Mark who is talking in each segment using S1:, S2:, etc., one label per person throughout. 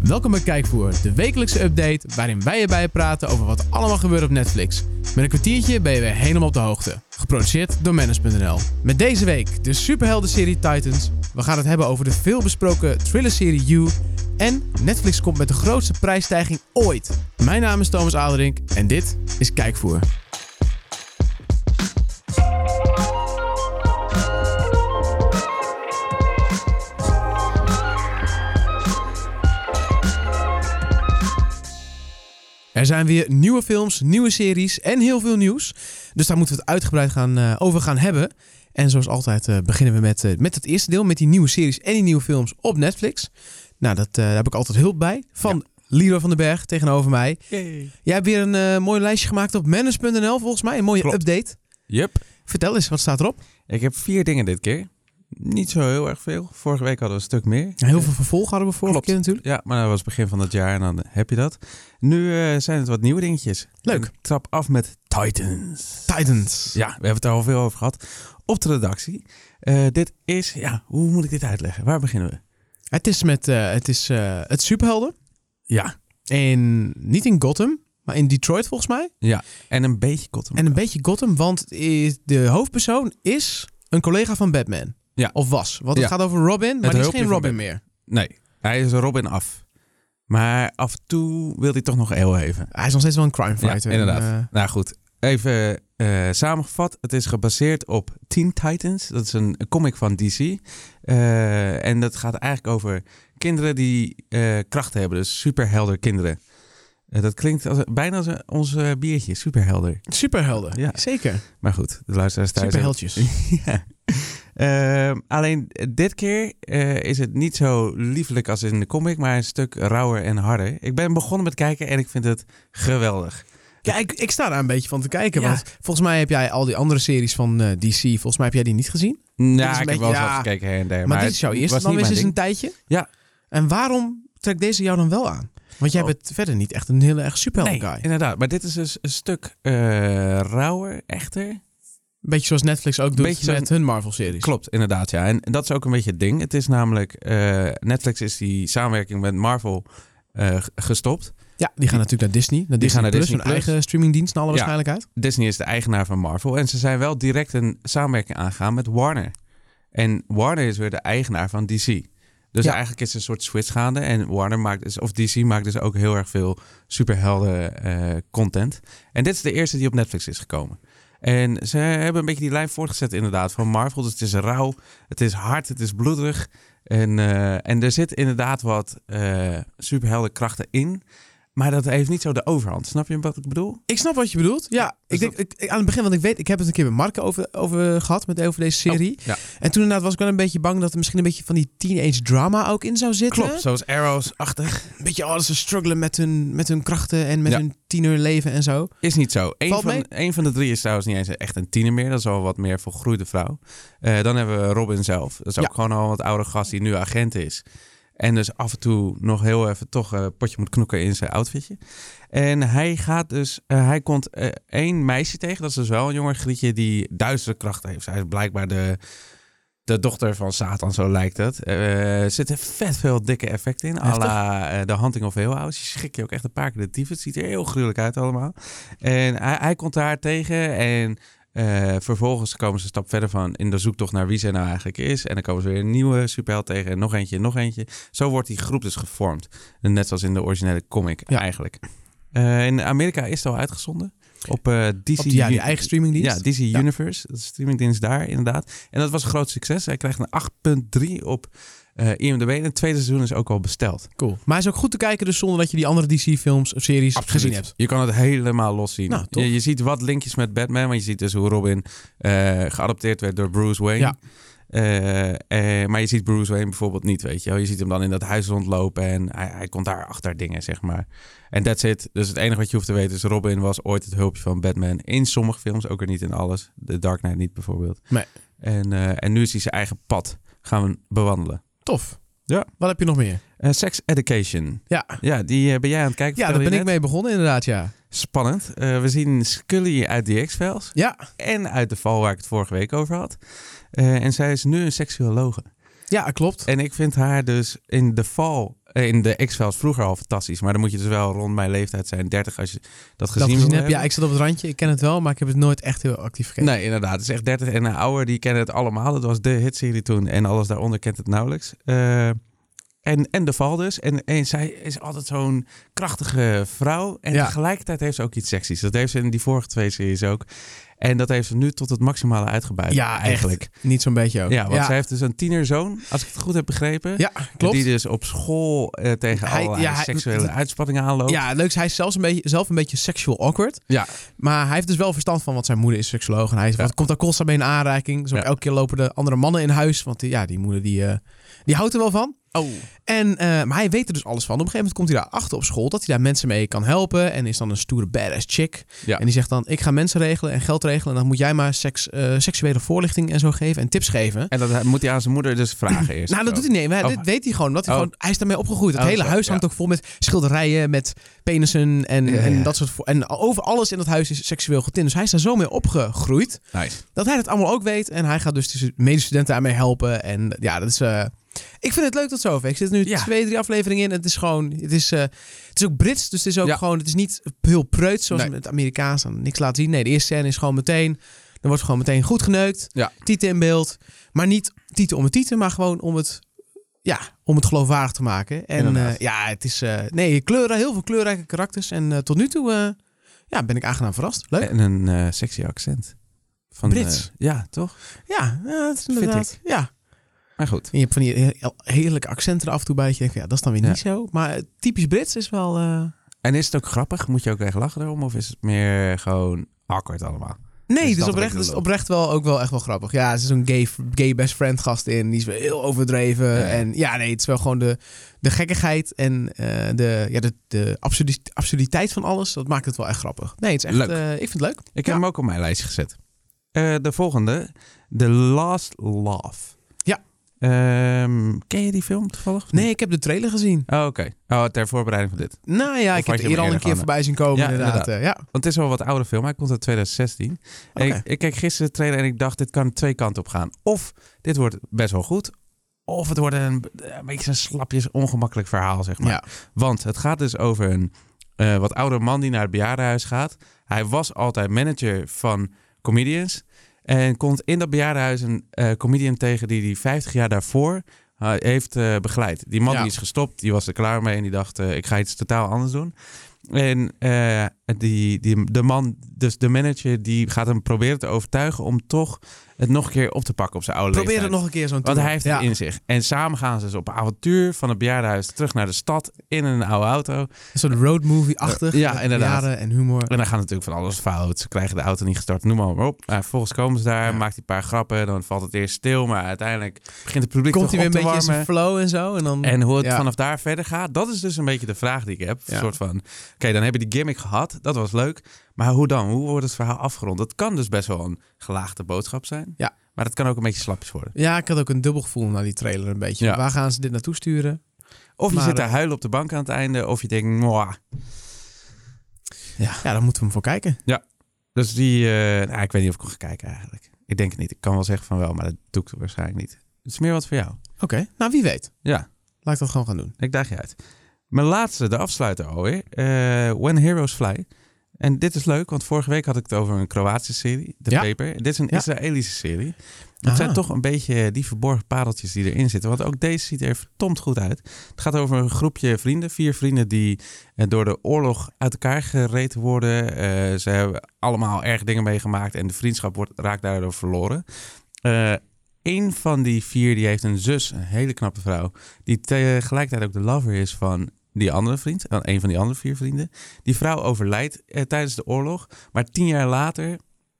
S1: Welkom bij Kijkvoer, de wekelijkse update waarin wij erbij praten over wat allemaal gebeurt op Netflix. Met een kwartiertje ben je weer helemaal op de hoogte. Geproduceerd door Manage.nl. Met deze week de superheldenserie Titans. We gaan het hebben over de veelbesproken thrillerserie You. En Netflix komt met de grootste prijsstijging ooit. Mijn naam is Thomas Aderink en dit is Kijkvoer. Er zijn weer nieuwe films, nieuwe series en heel veel nieuws. Dus daar moeten we het uitgebreid gaan, eh, over gaan hebben. En zoals altijd eh, beginnen we met, eh, met het eerste deel, met die nieuwe series en die nieuwe films op Netflix. Nou, dat, eh, daar heb ik altijd hulp bij. Van Leroy van den Berg tegenover mij. Jij hebt weer een eh, mooi lijstje gemaakt op manage.nl volgens mij. Een mooie
S2: Klopt.
S1: update.
S2: Yep.
S1: Vertel eens, wat staat erop?
S2: Ik heb vier dingen dit keer. Niet zo heel erg veel. Vorige week hadden we een stuk meer.
S1: Heel veel vervolg hadden we vorige
S2: Klopt.
S1: keer natuurlijk.
S2: Ja, maar dat was begin van het jaar en dan heb je dat. Nu eh, zijn het wat nieuwe dingetjes.
S1: Leuk.
S2: Ik trap af met Titans.
S1: Titans.
S2: Ja, we hebben het daar al veel over gehad. Op de redactie. Eh, dit is, ja, hoe moet ik dit uitleggen? Waar beginnen we?
S1: Het is met eh, het, is, eh, het superhelden.
S2: Ja.
S1: En niet in Gotham, maar in Detroit volgens mij.
S2: En een beetje Cotton.
S1: En een beetje Gotham, want eh, de hoofdpersoon is een collega van Batman.
S2: Ja.
S1: Of was. Want het
S2: Ja.
S1: gaat over Robin, maar die is
S2: hulpje
S1: geen
S2: van
S1: Robin meer.
S2: Nee, hij is Robin af. Maar af en toe wil hij toch nog heel even.
S1: Hij is nog steeds wel een crime fighter.
S2: Ja, inderdaad.
S1: En, eh,
S2: Nou goed, even eh, samengevat. Het is gebaseerd op Teen Titans. Dat is een comic van DC. Eh, en dat gaat eigenlijk over kinderen die eh, krachten hebben. Dus superhelder kinderen. Eh, dat klinkt als, bijna als een- ons eh, biertje, superhelder.
S1: eh, superhelden.
S2: Ja.
S1: Zeker.
S2: Maar goed, de luisteraars thuis...
S1: Superheldjes.
S2: ja. Ehm, alleen dit keer eh, is het niet zo liefelijk als in de comic, maar een stuk rauwer en harder. Ik ben begonnen met kijken en ik vind het geweldig.
S1: Ja, ik, ik sta daar een beetje van te kijken.
S2: Ja.
S1: Want volgens mij heb jij al die andere series van eh, DC, volgens mij heb jij die niet gezien.
S2: Nou,
S1: een
S2: ik
S1: beetje-
S2: heb wel eens
S1: ja.
S2: wat gekeken her en der.
S1: maar dit is jouw
S2: het
S1: eerste,
S2: was
S1: dan
S2: niet
S1: is
S2: mijn
S1: het een
S2: ding.
S1: tijdje.
S2: Ja.
S1: En waarom trekt deze jou dan wel aan? Want jij
S2: Oh.
S1: bent verder niet echt een heel erg superhelden
S2: Nee,
S1: guy.
S2: inderdaad. Maar dit is dus een stuk eh rauwer, echter.
S1: Beetje zoals Netflix ook doet
S2: Beetje zo'n-
S1: met hun Marvel-series.
S2: Klopt, inderdaad, ja. En dat is ook een beetje het ding. Het is namelijk, eh, Netflix is die samenwerking met Marvel eh, g- gestopt.
S1: Ja, die gaan natuurlijk naar Disney. Naar Disney
S2: gaan naar
S1: Plus,
S2: Disney
S1: hun
S2: Plus.
S1: eigen streamingdienst naar alle
S2: Ja.
S1: waarschijnlijkheid.
S2: Disney is de eigenaar van Marvel. En ze zijn wel direct een samenwerking aangegaan met Warner. En Warner is weer de eigenaar van DC. Dus
S1: Ja.
S2: eigenlijk is er een soort switch gaande. En Warner maakt dus, of DC maakt dus ook heel erg veel superhelden eh, content. En dit is de eerste die op Netflix is gekomen. En ze hebben een beetje die lijn voortgezet inderdaad van Marvel. Dus het is rauw, het is hard, het is bloederig. En, eh, en er zit inderdaad wat eh superheldenkrachten in. Maar dat heeft niet zo de overhand. Snap je wat ik bedoel?
S1: Ik snap wat je bedoelt. Ja, ik
S2: dus
S1: denk, ik, ik- aan het begin, want ik weet, ik heb het een keer met Marke over, over gehad, met over deze serie.
S2: ja.
S1: En toen inderdaad was ik wel een beetje bang dat er misschien een beetje van die teenage drama ook in zou zitten.
S2: Klopt, zoals Arrows-achtig.
S1: Een beetje alles ze struggelen met hun, met hun krachten en met
S2: Ja.
S1: hun tienerleven en zo.
S2: Is niet zo. Eén
S1: Valt
S2: van,
S1: mee?
S2: één van de drie is trouwens niet eens echt een tiener meer. Dat is al wat meer volgroeide vrouw. Eh, dan hebben we Robin zelf. Dat is ook
S1: Ja.
S2: gewoon al een wat ouder gast die nu agent is. En dus af en toe nog heel even toch een potje moet knokken in zijn outfitje. En hij gaat dus... eh, hij komt eh, één meisje tegen. Dat is dus wel een jonger grietje die duistere krachten heeft. Zij is blijkbaar de... De dochter van Satan, zo lijkt het. Eh, Er zitten vet veel dikke effecten in. à
S1: Heftig.
S2: la eh, de Hunting of Hill House. Je schrik je ook echt een paar keer de tyfus. Het ziet er heel gruwelijk uit allemaal. En hij, hij komt daar tegen en eh, vervolgens komen ze een stap verder van in de zoektocht naar wie zij nou eigenlijk is. En dan komen ze weer een nieuwe superheld tegen en nog eentje en nog eentje. Zo wordt die groep dus gevormd. En Net zoals in de originele comic
S1: Ja.
S2: eigenlijk. Eh, in Amerika is het al uitgezonden. Op eh DC
S1: Op die, ja, die
S2: Uni-
S1: eigen streamingdienst.
S2: Ja, DC Universe. Dat is de streamingdienst daar inderdaad. En dat was een groot succes. Hij krijgt een 8.3 op eh, IMDb. En het tweede seizoen is ook al besteld.
S1: Cool. Maar hij is ook goed te kijken dus zonder dat je die andere DC-films of series gezien hebt.
S2: Je kan het helemaal los zien.
S1: Nou, tof.
S2: je, je ziet wat linkjes met Batman, want je ziet dus hoe Robin eh, geadopteerd werd door Bruce Wayne.
S1: Ja.
S2: Eh, eh, maar je ziet Bruce Wayne bijvoorbeeld niet, weet je wel. Je ziet hem dan in dat huis rondlopen en hij, hij komt daar achter dingen, zeg maar. En that's it. Dus het enige wat je hoeft te weten is... Robin was ooit het hulpje van Batman. In sommige films, ook er niet in alles. The Dark Knight niet bijvoorbeeld.
S1: Nee.
S2: En, eh, en nu is hij zijn eigen pad gaan bewandelen.
S1: Tof.
S2: Ja.
S1: Wat heb je nog meer?
S2: Eh, sex Education.
S1: Ja,
S2: Ja, die eh, ben jij aan het kijken.
S1: ja
S2: vertelde
S1: daar ben
S2: je
S1: ik
S2: net.
S1: mee begonnen inderdaad, ja.
S2: Spannend. Eh, we zien Scully uit de X-Files.
S1: Ja.
S2: En uit de val waar ik het vorige week over had. Eh, en zij is nu een seksuologe.
S1: Ja, klopt.
S2: En ik vind haar dus in de val, eh, in de X-Files vroeger al fantastisch. Maar dan moet je dus wel rond mijn leeftijd zijn, 30, als je dat
S1: Dat
S2: gezien, wil
S1: gezien heb.
S2: hebben.
S1: Ja, ik zat op het randje. Ik ken het wel, maar ik heb het nooit echt heel actief gekeken.
S2: Nee, inderdaad. Het is echt 30 en ouder. Die kennen het allemaal. Dat was de hitserie toen. En alles daaronder kent het nauwelijks. Eh, en, en de val dus. En, en zij is altijd zo'n krachtige vrouw. En
S1: Ja.
S2: tegelijkertijd heeft ze ook iets seksies. Dat heeft ze in die vorige twee series ook. En dat heeft ze nu tot het maximale uitgebuit.
S1: Ja, echt.
S2: eigenlijk.
S1: Niet zo'n beetje ook.
S2: Ja, want zij heeft dus een tienerzoon. Als ik het goed heb begrepen.
S1: Ja, klopt.
S2: Die dus op school eh, tegen
S1: Hij-
S2: allerlei
S1: ja, hij-
S2: seksuele
S1: dat-
S2: uitspattingen aanloopt.
S1: Ja, leuk. Hij is zelfs een beetje, zelf een beetje sexual awkward.
S2: Ja.
S1: Maar hij heeft dus wel verstand van, want zijn moeder is seksoloog. En hij is,
S2: Ja.
S1: wat komt daar constant mee in aanraking. Zo
S2: Ja.
S1: elke keer lopen de andere mannen in huis. Want die, ja, die moeder die, eh, die houdt er wel van.
S2: Oh.
S1: En, eh, maar hij weet er dus alles van. Op een gegeven moment komt hij daar achter op school dat hij daar mensen mee kan helpen. En is dan een stoere badass chick.
S2: Ja.
S1: En die zegt dan, ik ga mensen regelen en geld regelen. En dan moet jij maar seks, eh, seksuele voorlichting en zo geven en tips geven.
S2: En dat moet hij aan zijn moeder dus vragen eerst.
S1: Nou, dat
S2: Zo.
S1: doet hij niet. Maar
S2: Oh.
S1: dit weet hij gewoon. Omdat hij,
S2: Oh.
S1: gewoon hij is daarmee opgegroeid. Het
S2: Oh,
S1: hele
S2: zo,
S1: huis
S2: ja.
S1: hangt ook vol met schilderijen, met penissen en,
S2: Ja,
S1: en
S2: ja.
S1: dat soort... vo- En over alles in dat huis is seksueel getint. Dus hij is daar zo mee opgegroeid
S2: Nice.
S1: dat hij dat allemaal ook weet. En hij gaat dus de medestudenten daarmee helpen. En ja, dat is... eh, ik vind het leuk tot zover. Ik zit nu
S2: Ja.
S1: twee, drie afleveringen in. Het is gewoon... Het is, eh, het is ook Brits, dus het is ook
S2: Ja.
S1: gewoon... Het is niet heel preuts zoals
S2: Nee.
S1: met het Amerikaans. Dan niks laten zien. Nee, de eerste scène is gewoon meteen... Dan wordt gewoon meteen goed geneukt.
S2: Ja.
S1: Tieten in beeld. Maar niet tieten om het tieten, maar gewoon om het, ja, om het geloofwaardig te maken. En
S2: Inderdaad.
S1: eh, ja, het is eh, nee, kleuren, heel veel kleurrijke karakters. En eh, tot nu toe eh, ja, ben ik aangenaam verrast. Leuk.
S2: En een eh, sexy accent. Van,
S1: Brits.
S2: eh, ja, toch?
S1: ja, ja, het is
S2: Vind
S1: inderdaad. Ja.
S2: Maar goed.
S1: En je hebt van die he- heerlijke accenten er af en toe bij. dat Je denkt, van, ja, dat is dan weer
S2: Ja.
S1: niet zo. Maar eh, typisch Brits is wel... eh,
S2: En is het ook grappig? Moet je ook echt lachen erom? Of is het meer gewoon awkward allemaal?
S1: Nee,
S2: Dus
S1: dus,
S2: dat wat
S1: oprecht,
S2: ik
S1: dus
S2: bedoel.
S1: oprecht wel ook wel echt wel grappig. Ja, er is een gay, gay best friend gast in. Die is wel heel overdreven.
S2: Ja.
S1: En ja, nee, het is wel gewoon de, de gekkigheid en eh, de, ja, de, de absurdi- absurditeit van alles. Dat maakt het wel echt grappig. Nee, het is echt...
S2: Leuk.
S1: eh, ik vind het leuk.
S2: Ik heb
S1: Ja.
S2: hem ook op mijn lijstje gezet. Eh, de volgende. The Last Laugh.
S1: Ja.
S2: Ehm, ken je die film toevallig? of niet?
S1: Nee, ik heb de trailer gezien.
S2: Oh, oké. Oh, ter voorbereiding van dit.
S1: Nou ja,
S2: Of
S1: ik heb
S2: had je
S1: er
S2: hem
S1: hier al
S2: eerder
S1: een keer
S2: gehad?
S1: voorbij zien komen
S2: Ja,
S1: inderdaad. eh, ja.
S2: Want het is wel een wat oude film. Hij komt uit 2016. En
S1: Oké.
S2: Ik, ik keek gisteren de trailer en ik dacht, dit kan twee kanten op gaan. Of dit wordt best wel goed. Of het wordt een, eh, een beetje zo'n slapjes ongemakkelijk verhaal, zeg maar.
S1: Ja.
S2: Want het gaat dus over een eh, wat oudere man die naar het bejaardenhuis gaat. Hij was altijd manager van comedians. En komt in dat bejaardenhuis een eh, comedian tegen die hij 50 jaar daarvoor eh, heeft eh, begeleid. Die man
S1: Ja.
S2: die is gestopt, die was er klaar mee en die dacht, eh, ik ga iets totaal anders doen. En eh, die, die, de man, dus de manager, die gaat hem proberen te overtuigen om toch het nog een keer op te pakken op zijn oude
S1: Probeer het
S2: leeftijd.
S1: nog een keer zo'n
S2: Want
S1: tour.
S2: hij heeft
S1: ja.
S2: het in zich. En samen gaan ze dus op avontuur van het bejaardenhuis terug naar de stad in een oude auto.
S1: Een soort road movie-achtig.
S2: Ja,
S1: met
S2: inderdaad.
S1: jaren en humor.
S2: En dan gaan natuurlijk van alles fout. Ze krijgen de auto niet gestart, noem maar op. Maar vervolgens komen ze daar,
S1: Ja.
S2: maakt hij een paar grappen. Dan valt het eerst stil, maar uiteindelijk begint het publiek
S1: Komt
S2: toch
S1: hij weer een
S2: op te
S1: beetje in zijn
S2: warmen.
S1: flow en zo. En dan...
S2: En hoe het
S1: Ja.
S2: vanaf daar verder gaat, dat is dus een beetje de vraag die ik heb.
S1: Ja.
S2: Een soort van, oké, dan heb je die gimmick gehad, dat was leuk. Maar hoe dan? Hoe wordt het verhaal afgerond? Dat kan dus best wel een gelaagde boodschap zijn.
S1: Ja.
S2: Maar dat kan ook een beetje slapjes worden.
S1: Ja, ik had ook een dubbel gevoel naar die trailer een beetje.
S2: Ja.
S1: Waar gaan ze dit naartoe sturen?
S2: Of je
S1: Maar,
S2: zit daar
S1: eh,
S2: huilen op de bank aan het einde, of je denkt, mwah.
S1: Ja, dan moeten we hem voor kijken.
S2: Dus die, eh, nou, ik weet niet of ik hem ga kijken eigenlijk. Ik denk het niet. Ik kan wel zeggen van wel, maar dat doe ik waarschijnlijk niet. Het is meer wat voor jou.
S1: Oké, nou wie weet.
S2: Ja,
S1: Laat ik dat gewoon gaan doen.
S2: ik daag je uit. Mijn laatste, de afsluiter alweer. eh, When Heroes Fly. En dit is leuk, want vorige week had ik het over een Kroatische serie, The
S1: Ja.
S2: Paper. Dit is een
S1: Ja.
S2: Israëlische serie. Het
S1: Aha.
S2: zijn toch een beetje die verborgen pareltjes die erin zitten. Want ook deze ziet er verdomd goed uit. Het gaat over een groepje vrienden. Vier vrienden die eh, door de oorlog uit elkaar gereten worden. Eh, ze hebben allemaal erg dingen meegemaakt. En de vriendschap wordt, raakt daardoor verloren. Eén van die vier die heeft een zus, een hele knappe vrouw. Die tegelijkertijd ook de lover is van die andere vriend. Van een van die andere vier vrienden. Die vrouw overlijdt eh, tijdens de oorlog. Maar tien jaar later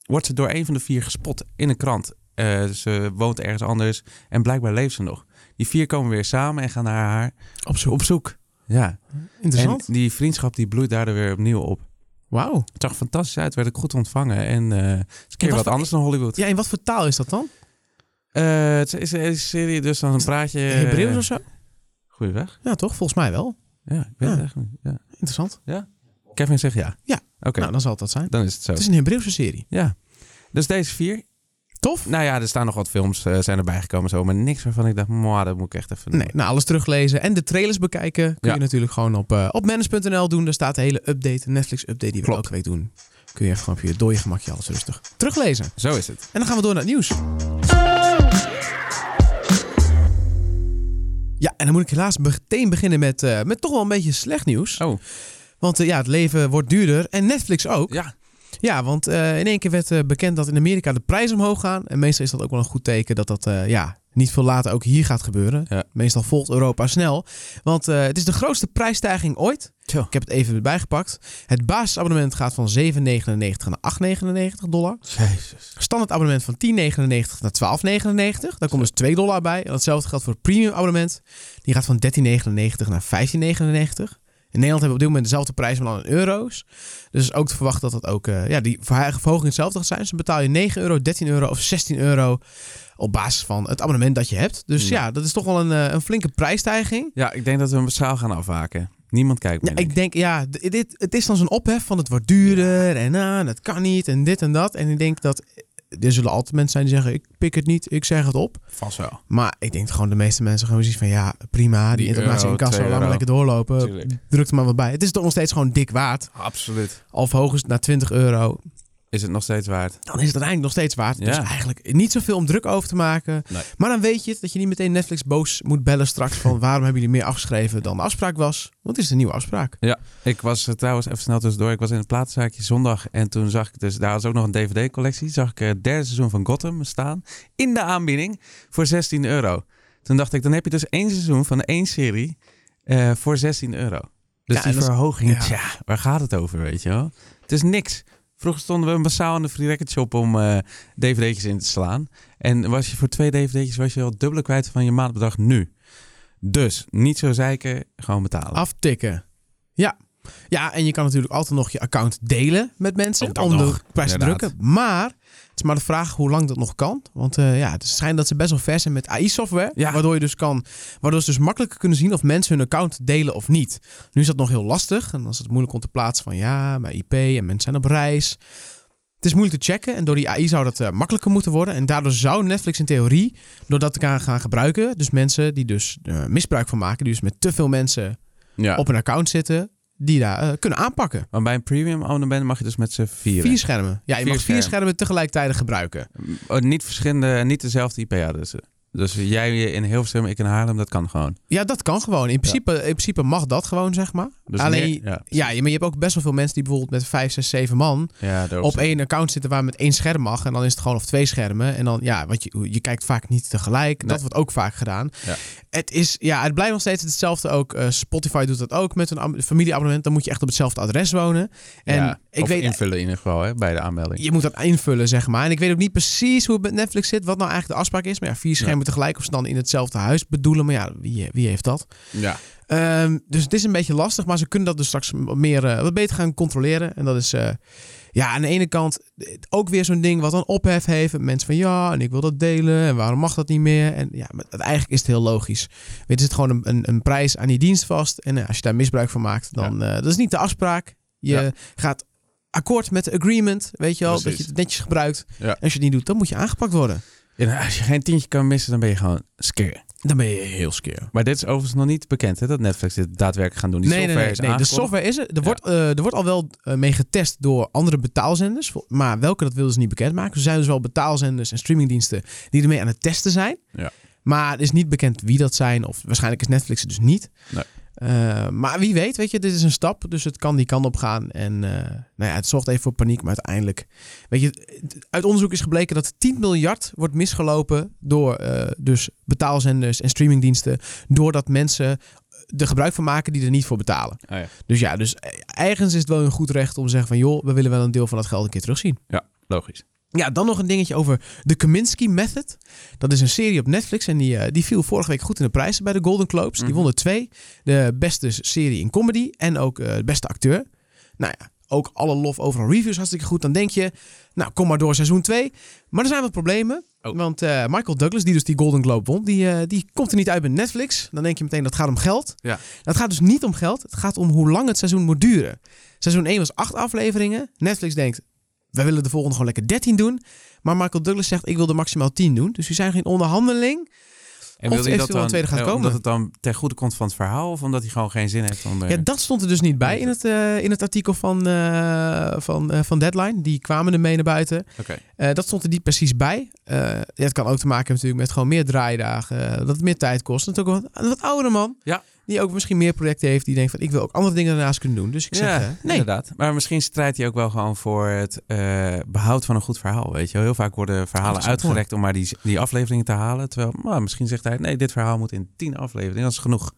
S2: wordt ze door een van de vier gespot in een krant. Eh, ze woont ergens anders en blijkbaar leeft ze nog. Die vier komen weer samen en gaan naar haar
S1: Op zoek.
S2: op zoek. Ja, en
S1: Interessant.
S2: die vriendschap die bloeit daardoor weer opnieuw op.
S1: Wauw.
S2: Het zag er fantastisch uit, werd ook goed ontvangen. En eh, het is een keer
S1: wat
S2: wat
S1: voor-
S2: anders dan Hollywood.
S1: Ja, en wat voor taal is dat dan?
S2: Eh, het is een serie, dus dan praat je...
S1: Hebreeuws of zo?
S2: Goeie weg.
S1: Ja, toch? Volgens mij wel.
S2: Ja, ik weet het
S1: Ja.
S2: echt niet. Ja.
S1: Interessant.
S2: Kevin zegt ja.
S1: Ja.
S2: Oké,
S1: Nou, dan zal het dat zijn.
S2: dan is het zo.
S1: Het is een Hebreeuwse serie.
S2: Ja. Dus deze vier.
S1: Tof?
S2: Nou ja, er staan nog wat films eh, zijn erbij gekomen zo. Maar niks waarvan ik dacht, "Mwah, dat moet ik echt even...
S1: Nee, nou alles teruglezen en de trailers bekijken kun
S2: Ja.
S1: je natuurlijk gewoon op, eh op manage.nl doen. Daar staat de hele update, Netflix-update die we
S2: Klopt.
S1: elke week doen. Kun je echt gewoon op je dode gemakje alles rustig teruglezen.
S2: Zo is het.
S1: En dan gaan we door naar het nieuws. Ja, en dan moet ik helaas meteen beginnen met, eh, met toch wel een beetje slecht nieuws.
S2: Oh.
S1: Want eh, ja, het leven wordt duurder en Netflix ook.
S2: Ja.
S1: Ja, want eh, in één keer werd eh, bekend dat in Amerika de prijzen omhoog gaan. En meestal is dat ook wel een goed teken dat dat eh, ja, niet veel later ook hier gaat gebeuren.
S2: Ja.
S1: Meestal volgt Europa snel. Want eh, het is de grootste prijsstijging ooit.
S2: Tjo.
S1: Ik heb het even erbij gepakt. Het basisabonnement gaat van 7,99 naar 8,99 dollar.
S2: Jezus.
S1: Standaard abonnement van 10,99 naar 12,99. Daar komt dus 2 dollar bij. En datzelfde geldt voor het premium abonnement. Die gaat van 13,99 naar 15,99. In Nederland hebben we op dit moment dezelfde prijs, maar dan in euro's. Dus is ook te verwachten dat dat ook... eh, ja, die verha- verhoging hetzelfde gaat zijn. Dus dan betaal je 9 euro, 13 euro of 16 euro... op basis van het abonnement dat je hebt. Dus ja,
S2: Ja.
S1: dat is toch wel een, eh, een flinke prijsstijging.
S2: Ja, ik denk dat we hem zaal gaan afhaken. Niemand kijkt
S1: Ja,
S2: meer. denk
S1: ik denk, ja, d- dit, het is dan zo'n ophef van het wordt duurder en ah, dat kan niet en dit en dat. En ik denk dat er zullen altijd mensen zijn die zeggen, ik pik het niet, ik zeg het op.
S2: ik. Vast wel.
S1: Maar ik denk gewoon de meeste mensen gewoon zoiets van, ja, prima, die,
S2: Die
S1: internationale
S2: euro,
S1: kassa,
S2: twee
S1: laat maar
S2: euro.
S1: lekker doorlopen.
S2: Tuurlijk.
S1: Druk er maar wat bij. Het is toch nog steeds gewoon dik waard.
S2: Absoluut.
S1: Of hoogstens naar 20 euro.
S2: Is het nog steeds waard?
S1: Dan is het uiteindelijk nog steeds waard. Dus
S2: Ja.
S1: eigenlijk niet zoveel om druk over te maken.
S2: Nee.
S1: Maar dan weet je het, dat je niet meteen Netflix boos moet bellen straks van waarom hebben jullie meer afgeschreven dan de afspraak was. Want het is een nieuwe afspraak.
S2: Ik was eh, trouwens even snel tussendoor. Ik was in het platenzaakje zondag. En toen zag ik dus, daar was ook nog een DVD-collectie. Zag ik eh, het derde seizoen van Gotham staan. In de aanbieding voor 16 euro. Toen dacht ik, dan heb je dus één seizoen van één serie eh, voor 16 euro. Dus
S1: Ja, en
S2: die
S1: dat is-
S2: verhoging,
S1: ja.
S2: tja, waar gaat het over, weet je wel? Het is niks. Vroeger stonden we massaal in de free record shop om eh, dvd'tjes in te slaan. En was je voor twee dvd'tjes was je al dubbele kwijt van je maandbedrag nu. Dus, niet zo zeiken, gewoon betalen.
S1: Aftikken. Ja. Ja, en je kan natuurlijk altijd nog je account delen met mensen
S2: Ook Oh, dat
S1: om de
S2: nog,
S1: prijs te
S2: inderdaad.
S1: drukken. Maar het is maar de vraag hoe lang dat nog kan. Want eh, ja, het schijnt dat ze best wel ver zijn met AI-software.
S2: Ja.
S1: Waardoor, je dus kan, waardoor ze dus makkelijker kunnen zien of mensen hun account delen of niet. Nu is dat nog heel lastig. En dan is het moeilijk om te plaatsen van ja, mijn IP en mensen zijn op reis. Het is moeilijk te checken en door die AI zou dat eh, makkelijker moeten worden. En daardoor zou Netflix in theorie, door dat te gaan- gaan gebruiken, dus mensen die dus eh, misbruik van maken, die dus met te veel mensen
S2: ja.
S1: op een account zitten die daar eh, kunnen aanpakken.
S2: Maar bij een premium abonnement mag je dus met z'n vieren.
S1: Vier schermen. Ja, je
S2: Vier
S1: mag vier
S2: schermen.
S1: schermen tegelijkertijd gebruiken.
S2: Oh, niet verschillende, niet dezelfde IP-adressen. Dus jij in Hilversum, ik in Haarlem, dat kan gewoon.
S1: Ja, dat kan gewoon. In principe, in principe mag dat gewoon, zeg maar.
S2: Dus
S1: Alleen,
S2: meer- ja,
S1: ja, je- maar je hebt ook best wel veel mensen die bijvoorbeeld met vijf, zes, zeven man
S2: ja, daarop
S1: op
S2: zit-
S1: één account zitten waar met één scherm mag. En dan is het gewoon of twee schermen. En dan, ja, want je, je kijkt vaak niet tegelijk. Dat
S2: Nee.
S1: wordt ook vaak gedaan.
S2: Ja.
S1: Het is, ja, het blijft nog steeds hetzelfde ook. Eh, Spotify doet dat ook met een ab- familieabonnement. Dan moet je echt op hetzelfde adres wonen. En
S2: ja,
S1: ik
S2: of
S1: weet
S2: invullen in ieder geval hè, bij de aanmelding.
S1: Je moet dat invullen, zeg maar. En ik weet ook niet precies hoe het met Netflix zit, wat nou eigenlijk de afspraak is. Maar ja, vier schermen tegelijk of ze dan in hetzelfde huis bedoelen. Maar ja, wie, wie heeft dat?
S2: Ja.
S1: Ehm, dus het is een beetje lastig, maar ze kunnen dat dus straks wat meer, eh, wat beter gaan controleren. En dat is, eh, ja, aan de ene kant eh, ook weer zo'n ding wat dan ophef heeft. Mensen van ja, en ik wil dat delen en waarom mag dat niet meer? En ja, maar het- eigenlijk is het heel logisch. Weet, er zit gewoon een, een, een prijs aan die dienst vast. En eh, als je daar misbruik van maakt, dan eh, dat is niet de afspraak. Je
S2: Ja.
S1: gaat akkoord met de agreement, weet je wel, dat
S2: Precies.
S1: je het netjes gebruikt.
S2: Ja.
S1: En als je het niet doet, dan moet je aangepakt worden.
S2: En als je geen tientje kan missen, dan ben je gewoon skeer.
S1: Dan ben je heel skeer.
S2: Maar dit is overigens nog niet bekend, hè, dat Netflix dit daadwerkelijk gaan doen. Die
S1: nee, nee,
S2: software
S1: nee,
S2: is
S1: nee. De
S2: aangekondigd.
S1: software is er. Er,
S2: Ja.
S1: wordt, eh, er wordt al wel eh, mee getest door andere betaalzenders. Vol- Maar welke, dat wilden ze niet bekendmaken. Er zijn dus wel betaalzenders en streamingdiensten die ermee aan het testen zijn.
S2: Ja.
S1: Maar het is niet bekend wie dat zijn. Of waarschijnlijk is Netflix het dus niet.
S2: Nee.
S1: Eh, maar wie weet, weet je, dit is een stap. Dus het kan die kant op gaan. En eh, nou ja, het zorgt even voor paniek. Maar uiteindelijk, weet je, het- uit onderzoek is gebleken dat 10 miljard wordt misgelopen door eh, dus betaalzenders en streamingdiensten. Doordat mensen er gebruik van maken die er niet voor betalen.
S2: Ah, ja.
S1: Dus ja, dus ergens is het wel een goed recht om te zeggen van... joh, we willen wel een deel van dat geld een keer terugzien.
S2: Logisch.
S1: Ja, dan nog een dingetje over de Kaminsky Method. Dat is een serie op Netflix en die, eh, die viel vorige week goed in de prijzen bij de Golden Globes. Die
S2: Mhm.
S1: wonnen twee. De beste serie in comedy en ook eh, de beste acteur. Nou ja, ook alle lof overal reviews hartstikke goed. Dan denk je, nou kom maar door seizoen 2. Maar er zijn wat problemen.
S2: Oh.
S1: Want eh, Michael Douglas, die dus die Golden Globe won, die, eh, die komt er niet uit bij Netflix. Dan denk je meteen, dat gaat om geld.
S2: Ja.
S1: Dat gaat dus niet om geld. Het gaat om hoe lang het seizoen moet duren. Seizoen 1 was acht afleveringen. Netflix denkt, wij willen de volgende gewoon lekker 13 doen. Maar Michael Douglas zegt, ik wil er maximaal 10 doen. Dus we zijn geen onderhandeling.
S2: En
S1: Of
S2: wil hij
S1: eventueel
S2: dat
S1: een
S2: dan,
S1: tweede gaat
S2: eh,
S1: komen.
S2: Omdat het dan ten goede komt van het verhaal of omdat hij gewoon geen zin heeft om... eh, er-
S1: Ja, dat stond er dus niet bij in het, eh, in het artikel van, eh, van, eh, van Deadline. Die kwamen ermee naar buiten.
S2: Oké.
S1: Eh, dat stond er niet precies bij. Eh, ja, het kan ook te maken hebben natuurlijk met gewoon meer draaidagen. eh, dat het meer tijd kost. En het ook een wat, een wat oudere man.
S2: Ja.
S1: Die ook misschien meer projecten heeft. Die denkt van, ik wil ook andere dingen daarnaast kunnen doen. Dus ik zeg,
S2: Ja,
S1: eh, nee.
S2: inderdaad. Maar misschien strijdt hij ook wel gewoon voor het eh, behoud van een goed verhaal. Weet je wel, heel vaak worden
S1: Dat
S2: verhalen
S1: is ook
S2: uitgerekt om maar die, die afleveringen te halen. Terwijl, maar misschien zegt hij, nee, dit verhaal moet in tien afleveringen. Dat is genoeg.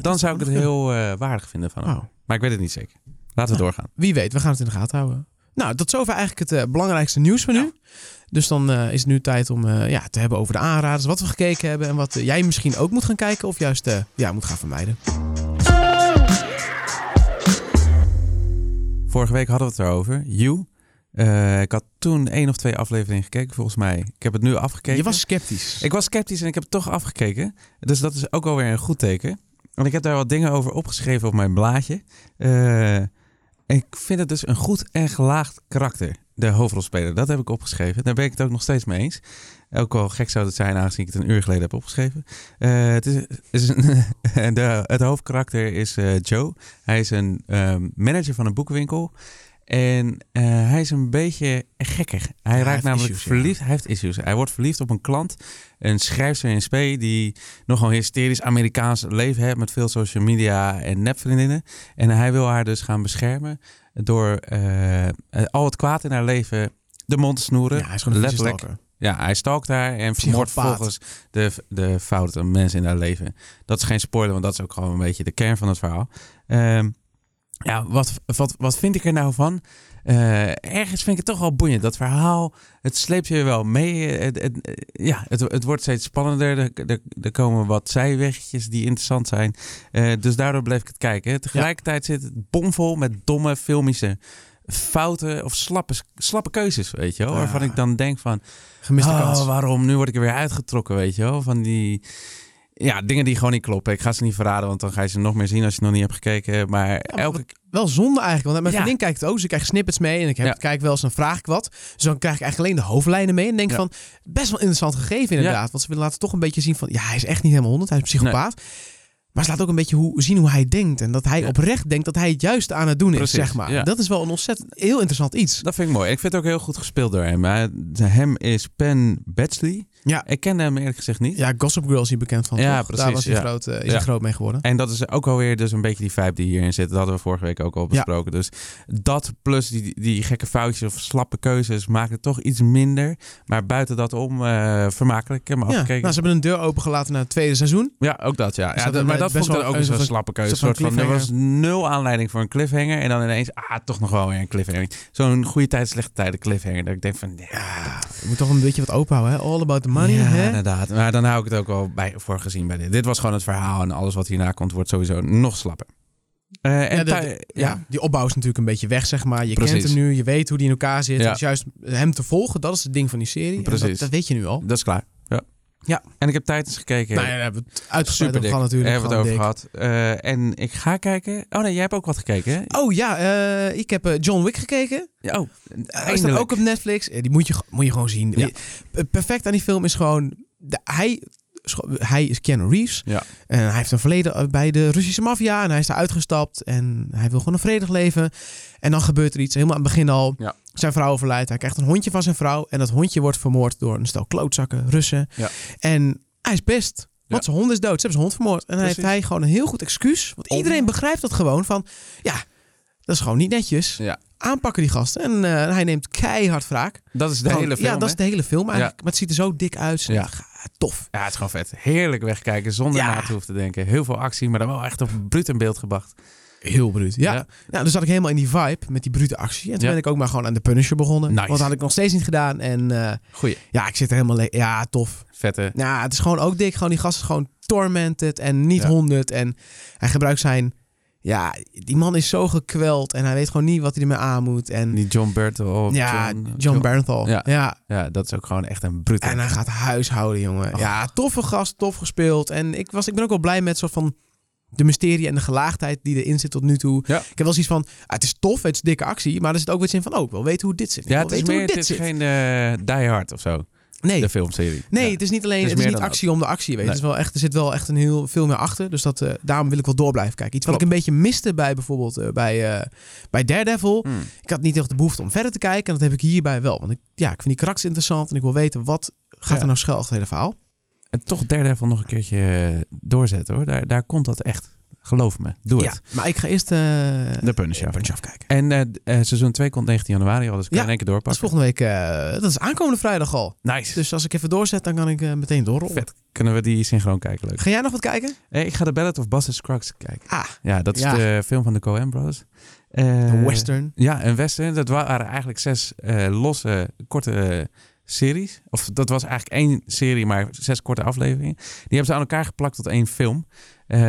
S2: Dan zou ik het heel eh, waardig vinden van hem.
S1: Nou,
S2: Maar ik weet het niet zeker. Laten we doorgaan.
S1: wie weet, we gaan het in de gaten houden. Nou, tot zover eigenlijk het eh, belangrijkste nieuws van nu. Dus dan eh, is het nu tijd om eh, ja, te hebben over de aanraders. Wat we gekeken hebben en wat eh, jij misschien ook moet gaan kijken. Of juist eh, ja, moet gaan vermijden.
S2: Vorige week hadden we het erover. You. Eh, ik had toen één of twee afleveringen gekeken, volgens mij. Ik heb het nu afgekeken.
S1: Je was sceptisch.
S2: Ik was sceptisch en ik heb het toch afgekeken. Dus dat is ook alweer een goed teken. Want ik heb daar wat dingen over opgeschreven op mijn blaadje. Eh, ik vind het dus een goed en gelaagd karakter, de hoofdrolspeler. Dat heb ik opgeschreven. Daar ben ik het ook nog steeds mee eens. Ook wel gek zou het zijn, aangezien ik het een uur geleden heb opgeschreven. Eh, het, is, het is een, de, het hoofdkarakter is eh, Joe. Hij is een eh, manager van een boekwinkel. En eh, hij is een beetje gekkig. Hij
S1: hij heeft
S2: raakt namelijk
S1: issues, ja.
S2: verliefd. Hij heeft issues. Hij wordt verliefd op een klant. Een schrijfster in SP die nogal een hysterisch Amerikaans leven heeft... met veel social media en nepvriendinnen. En hij wil haar dus gaan beschermen... door eh, eh, al het kwaad in haar leven de mond te snoeren.
S1: ja, hij is gewoon een
S2: letterlijk.
S1: letterlijk.
S2: Ja, hij stalkt haar en vermoordt
S1: Psychopaat.
S2: vervolgens de, de fouten mensen in haar leven. Dat is geen spoiler, want dat is ook gewoon een beetje de kern van het verhaal. Ehm, ja, wat, wat, wat vind ik er nou van? Eh, ergens vind ik het toch wel boeiend. Dat verhaal, het sleept je wel mee. Het, het- het- ja, het, het wordt steeds spannender. Er, er, er komen wat zijwegjes die interessant zijn. Eh, dus daardoor bleef ik het kijken. Tegelijkertijd zit het bomvol met domme filmische fouten of slappe, slappe keuzes, weet je wel.
S1: Ja.
S2: Waarvan ik dan denk van,
S1: Gemiste kans.
S2: Oh, waarom? Nu word ik er weer uitgetrokken, weet je wel. Van die ja, dingen die gewoon niet kloppen. Ik ga ze niet verraden, want dan ga je ze nog meer zien als je nog niet hebt gekeken. Maar
S1: maar
S2: elke...
S1: Wel zonde eigenlijk, want mijn
S2: Ja.
S1: vriendin kijkt het ook. Ze krijgt snippets mee en ik heb,
S2: Ja.
S1: kijk wel eens, dan vraag ik wat. Dus dan krijg ik eigenlijk alleen de hoofdlijnen mee en denk
S2: Ja.
S1: van, best wel interessant gegeven inderdaad. Want ze willen laten toch een beetje zien van, ja, hij is echt niet helemaal honderd, hij is een psychopaat. Maar ze laat ook een beetje hoe, zien hoe hij denkt en dat hij
S2: Ja.
S1: oprecht denkt dat hij het juiste aan het doen
S2: Precies,
S1: is, zeg maar.
S2: ja.
S1: Dat is wel een ontzettend, heel interessant iets.
S2: Dat vind ik mooi. Ik vind het ook heel goed gespeeld door hem. Hij- Hem is Penn Badgley.
S1: Ja.
S2: Ik kende hem eerlijk gezegd niet.
S1: Ja, Gossip Girl is hier bekend van,
S2: Ja,
S1: toch? Daar
S2: precies,
S1: was hij
S2: ja.
S1: groot, eh, is hij
S2: Ja.
S1: groot mee geworden.
S2: En dat is ook alweer dus een beetje die vibe die hierin zit. Dat hadden we vorige week ook al besproken. Dus dat plus die, die gekke foutjes of slappe keuzes maakt het toch iets minder. Maar buiten dat om, eh vermakelijk. Ik heb hem
S1: Ja, nou,
S2: afgekeken.
S1: ze hebben een deur opengelaten naar het tweede seizoen.
S2: Ja, ook dat, ja.
S1: Dus
S2: ja
S1: dat-
S2: dat- maar
S1: eh,
S2: dat
S1: best
S2: vond
S1: wel
S2: ik dan ook
S1: een
S2: weer zo'n
S1: soort-
S2: slappe keuze.
S1: soort van
S2: Soort van, er was
S1: cliffhanger.
S2: nul aanleiding voor een cliffhanger. En dan ineens, ah, toch nog wel weer een cliffhanger. Zo'n goede tijd, slechte tijden cliffhanger. Dat ik denk van, ja...
S1: Je moet toch een beetje wat open houden, hè? All about the money,
S2: ja,
S1: hè?
S2: inderdaad. Maar dan hou ik het ook wel bij, voor gezien bij dit. Dit was gewoon het verhaal. En alles wat hierna komt, wordt sowieso nog slapper. Eh, en
S1: Ja, de-
S2: thui-
S1: de-
S2: ja.
S1: ja, die opbouw is natuurlijk een beetje weg, zeg maar. Je
S2: Precies.
S1: kent hem nu, je weet hoe die in elkaar zit.
S2: Ja.
S1: Dus juist hem te volgen, dat is het ding van die serie. En Dat,
S2: Precies.
S1: dat weet je nu al.
S2: dat is klaar. Ja.
S1: Ja.
S2: En ik heb tijdens gekeken.
S1: Nou ja, daar hebben we het uitgebreid
S2: Super
S1: over
S2: dik.
S1: gehad
S2: Daar
S1: natuurlijk.
S2: hebben we het over
S1: Gewoon
S2: gehad. Eh, en ik ga kijken. Oh nee, jij hebt ook wat gekeken. Hè?
S1: dik. Oh ja, eh, ik heb eh, John Wick gekeken.
S2: Ja, Oh,
S1: Hij staat ook op Netflix. Eh, Die moet je, ge- moet je gewoon zien.
S2: Ja.
S1: Eh, Perfect aan die film is gewoon... De, hij, scho- hij is Keanu Reeves.
S2: Ja.
S1: En hij heeft een verleden eh, bij de Russische maffia. En hij is daar uitgestapt. En hij wil gewoon een vredig leven. En dan gebeurt er iets. Helemaal aan het begin al.
S2: Ja.
S1: Zijn vrouw overlijdt. Hij krijgt een hondje van zijn vrouw. En dat hondje wordt vermoord door een stel klootzakken, Russen.
S2: Ja.
S1: En hij is best. Want
S2: Ja.
S1: zijn hond is dood. Ze hebben zijn hond vermoord. En dan heeft
S2: Precies.
S1: hij gewoon een heel goed excuus. Want
S2: Om-
S1: iedereen begrijpt dat gewoon. Van ja, dat is gewoon niet netjes
S2: Ja.
S1: aanpakken die gasten. En eh, hij neemt keihard wraak.
S2: Oh, Dat is de
S1: Gewoon-
S2: hele film.
S1: ja, dat
S2: hè?
S1: is de hele film eigenlijk. Maar het ziet er zo dik uit.
S2: Ja.
S1: Ga- Tof.
S2: Ja, het is gewoon vet. Heerlijk wegkijken zonder
S1: Ja.
S2: na te hoeven te denken. Heel veel actie, maar dan wel echt op bruut in beeld gebracht.
S1: Heel bruut. Ja.
S2: Ja.
S1: Nou, dus zat ik helemaal in die vibe met die brute actie. En toen
S2: Ja.
S1: ben ik ook maar gewoon aan de Punisher begonnen.
S2: Nice.
S1: Want dat had ik nog steeds niet gedaan. En eh,
S2: Goeie,
S1: ja, ik zit er helemaal... le- Ja, tof.
S2: vette.
S1: Ja, het is gewoon ook dik. Gewoon die gast is gewoon tormented en niet
S2: Ja.
S1: honderd. En hij gebruikt zijn... Ja, die man is zo gekweld. En hij weet gewoon niet wat hij ermee aan moet. En
S2: Die John Bertel. of
S1: ja, John,
S2: John,
S1: Bernthal.
S2: Ja.
S1: ja,
S2: Ja, dat is ook gewoon echt een brute.
S1: En eh, hij gaat huishouden, jongen.
S2: Oh.
S1: Ja, toffe gast, tof gespeeld. En ik, was, ik ben ook wel blij met soort van de mysterie en de gelaagdheid die erin zit tot nu toe.
S2: Ja.
S1: Ik heb wel eens iets van, ah, het is tof, het is dikke actie, maar er zit ook wat in van, oh, ik wil weten hoe dit zit. Ik
S2: Ja,
S1: wil
S2: het is
S1: weten
S2: meer,
S1: hoe
S2: het
S1: dit
S2: is
S1: zit.
S2: geen eh, Die Hard of zo,
S1: nee,
S2: de filmserie.
S1: nee
S2: Ja.
S1: het is niet alleen,
S2: Het
S1: het is,
S2: is meer
S1: niet
S2: dan
S1: actie om de actie. Weet. je.
S2: Nee.
S1: Het is wel echt, er zit wel echt een heel veel meer achter, dus dat, eh, daarom wil ik wel door blijven kijken. Iets wat ik een beetje miste bij bijvoorbeeld eh, bij, eh, bij Daredevil.
S2: Hmm.
S1: Ik had niet echt de behoefte om verder te kijken en dat heb ik hierbij wel. Want ik, ja, ik vind die karakters interessant en ik wil weten, wat gaat
S2: Ja.
S1: er nou schuil achter het hele verhaal?
S2: En toch derde van nog een keertje eh, doorzetten hoor. Daar, daar komt dat echt. Geloof me. Doe
S1: Ja,
S2: het.
S1: maar ik ga eerst eh
S2: De Punisher.
S1: Punisher afkijken.
S2: En eh, d- eh, seizoen 2 komt 19 januari al, dus ik kan
S1: Ja,
S2: in één keer
S1: Dat is
S2: doorpakken.
S1: volgende week, eh, dat is aankomende vrijdag al.
S2: Nice.
S1: Dus als ik even doorzet, dan kan ik eh, meteen doorrollen.
S2: Vet. Kunnen we die synchroon kijken, leuk.
S1: Ga jij nog wat kijken?
S2: Eh, ik ga de Ballad of Buster Scruggs kijken.
S1: Ah,
S2: Ja, dat is
S1: Ja.
S2: de film van de Coen Brothers.
S1: een
S2: Eh,
S1: western.
S2: Ja, en Western. Dat waren eigenlijk zes eh, losse, korte eh, series. Of dat was eigenlijk één serie, maar zes korte afleveringen. Die hebben ze aan elkaar geplakt tot één film. Eh,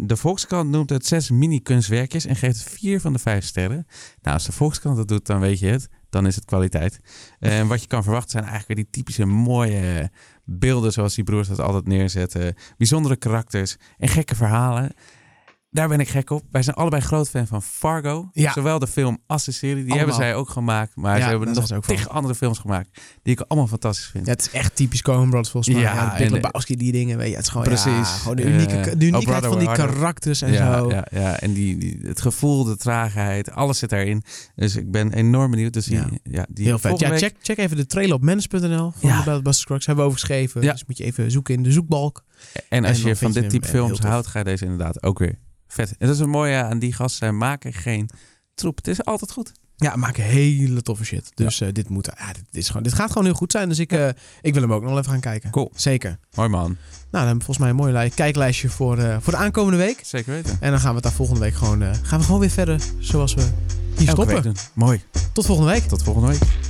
S2: de Volkskrant noemt het zes mini-kunstwerkjes en geeft het vier van de vijf sterren. Nou, als de Volkskrant dat doet, dan weet je het. Dan is het kwaliteit. En wat je kan verwachten zijn eigenlijk weer die typische mooie beelden... zoals die broers dat altijd neerzetten. Bijzondere karakters en gekke verhalen. Daar ben ik gek op. Wij zijn allebei groot fan van Fargo.
S1: Ja.
S2: Zowel de film als de serie. Die
S1: Allemaal.
S2: hebben zij ook gemaakt. Maar
S1: Ja,
S2: ze hebben
S1: daar zijn
S2: nog
S1: ze ook van.
S2: tegen andere films gemaakt. Die ik allemaal fantastisch vind.
S1: Ja, het is echt typisch Coen Brothers volgens mij.
S2: Ja,
S1: Ja, Big
S2: en- eh,
S1: Lebowski, die dingen. Weet je, het is gewoon,
S2: Precies.
S1: ja, gewoon de,
S2: Eh,
S1: unieke,
S2: Oh,
S1: de uniekheid
S2: Brother,
S1: van die
S2: Where Art Thou?
S1: karakters en
S2: ja,
S1: zo.
S2: Ja, ja. en die, die, het gevoel, de traagheid, alles zit daarin. Dus ik ben enorm benieuwd. Dus die, ja.
S1: Ja.
S2: die
S1: Heel vet.
S2: volgende
S1: Ja,
S2: week-
S1: check, check even de trailer op mens.nl van
S2: Ja.
S1: de Bad Buster Scruggs. Hebben we overgeschreven.
S2: Ja.
S1: Dus moet je even zoeken in de zoekbalk.
S2: En
S1: en
S2: als
S1: dan
S2: je
S1: vind
S2: van
S1: je
S2: dit
S1: hem,
S2: type
S1: eh,
S2: films
S1: heel tof.
S2: houdt, ga je deze inderdaad ook weer vet. En dat is een mooie aan die gasten. Zij maken geen troep. Het is altijd goed.
S1: Ja, maken hele toffe shit. Dus eh, dit, moet, ja, dit, is gewoon, dit gaat gewoon heel goed zijn. Dus ik, eh, ik wil hem ook nog wel even gaan kijken.
S2: Cool.
S1: Zeker.
S2: Mooi man.
S1: Nou, dan hebben we volgens mij een mooi li- kijklijstje voor, eh, voor de aankomende week.
S2: Zeker weten.
S1: En dan gaan we het daar volgende week gewoon, eh, gaan we gewoon weer verder zoals we hier
S2: Elke
S1: stoppen.
S2: week doen. Mooi.
S1: Tot volgende week.
S2: Tot volgende week.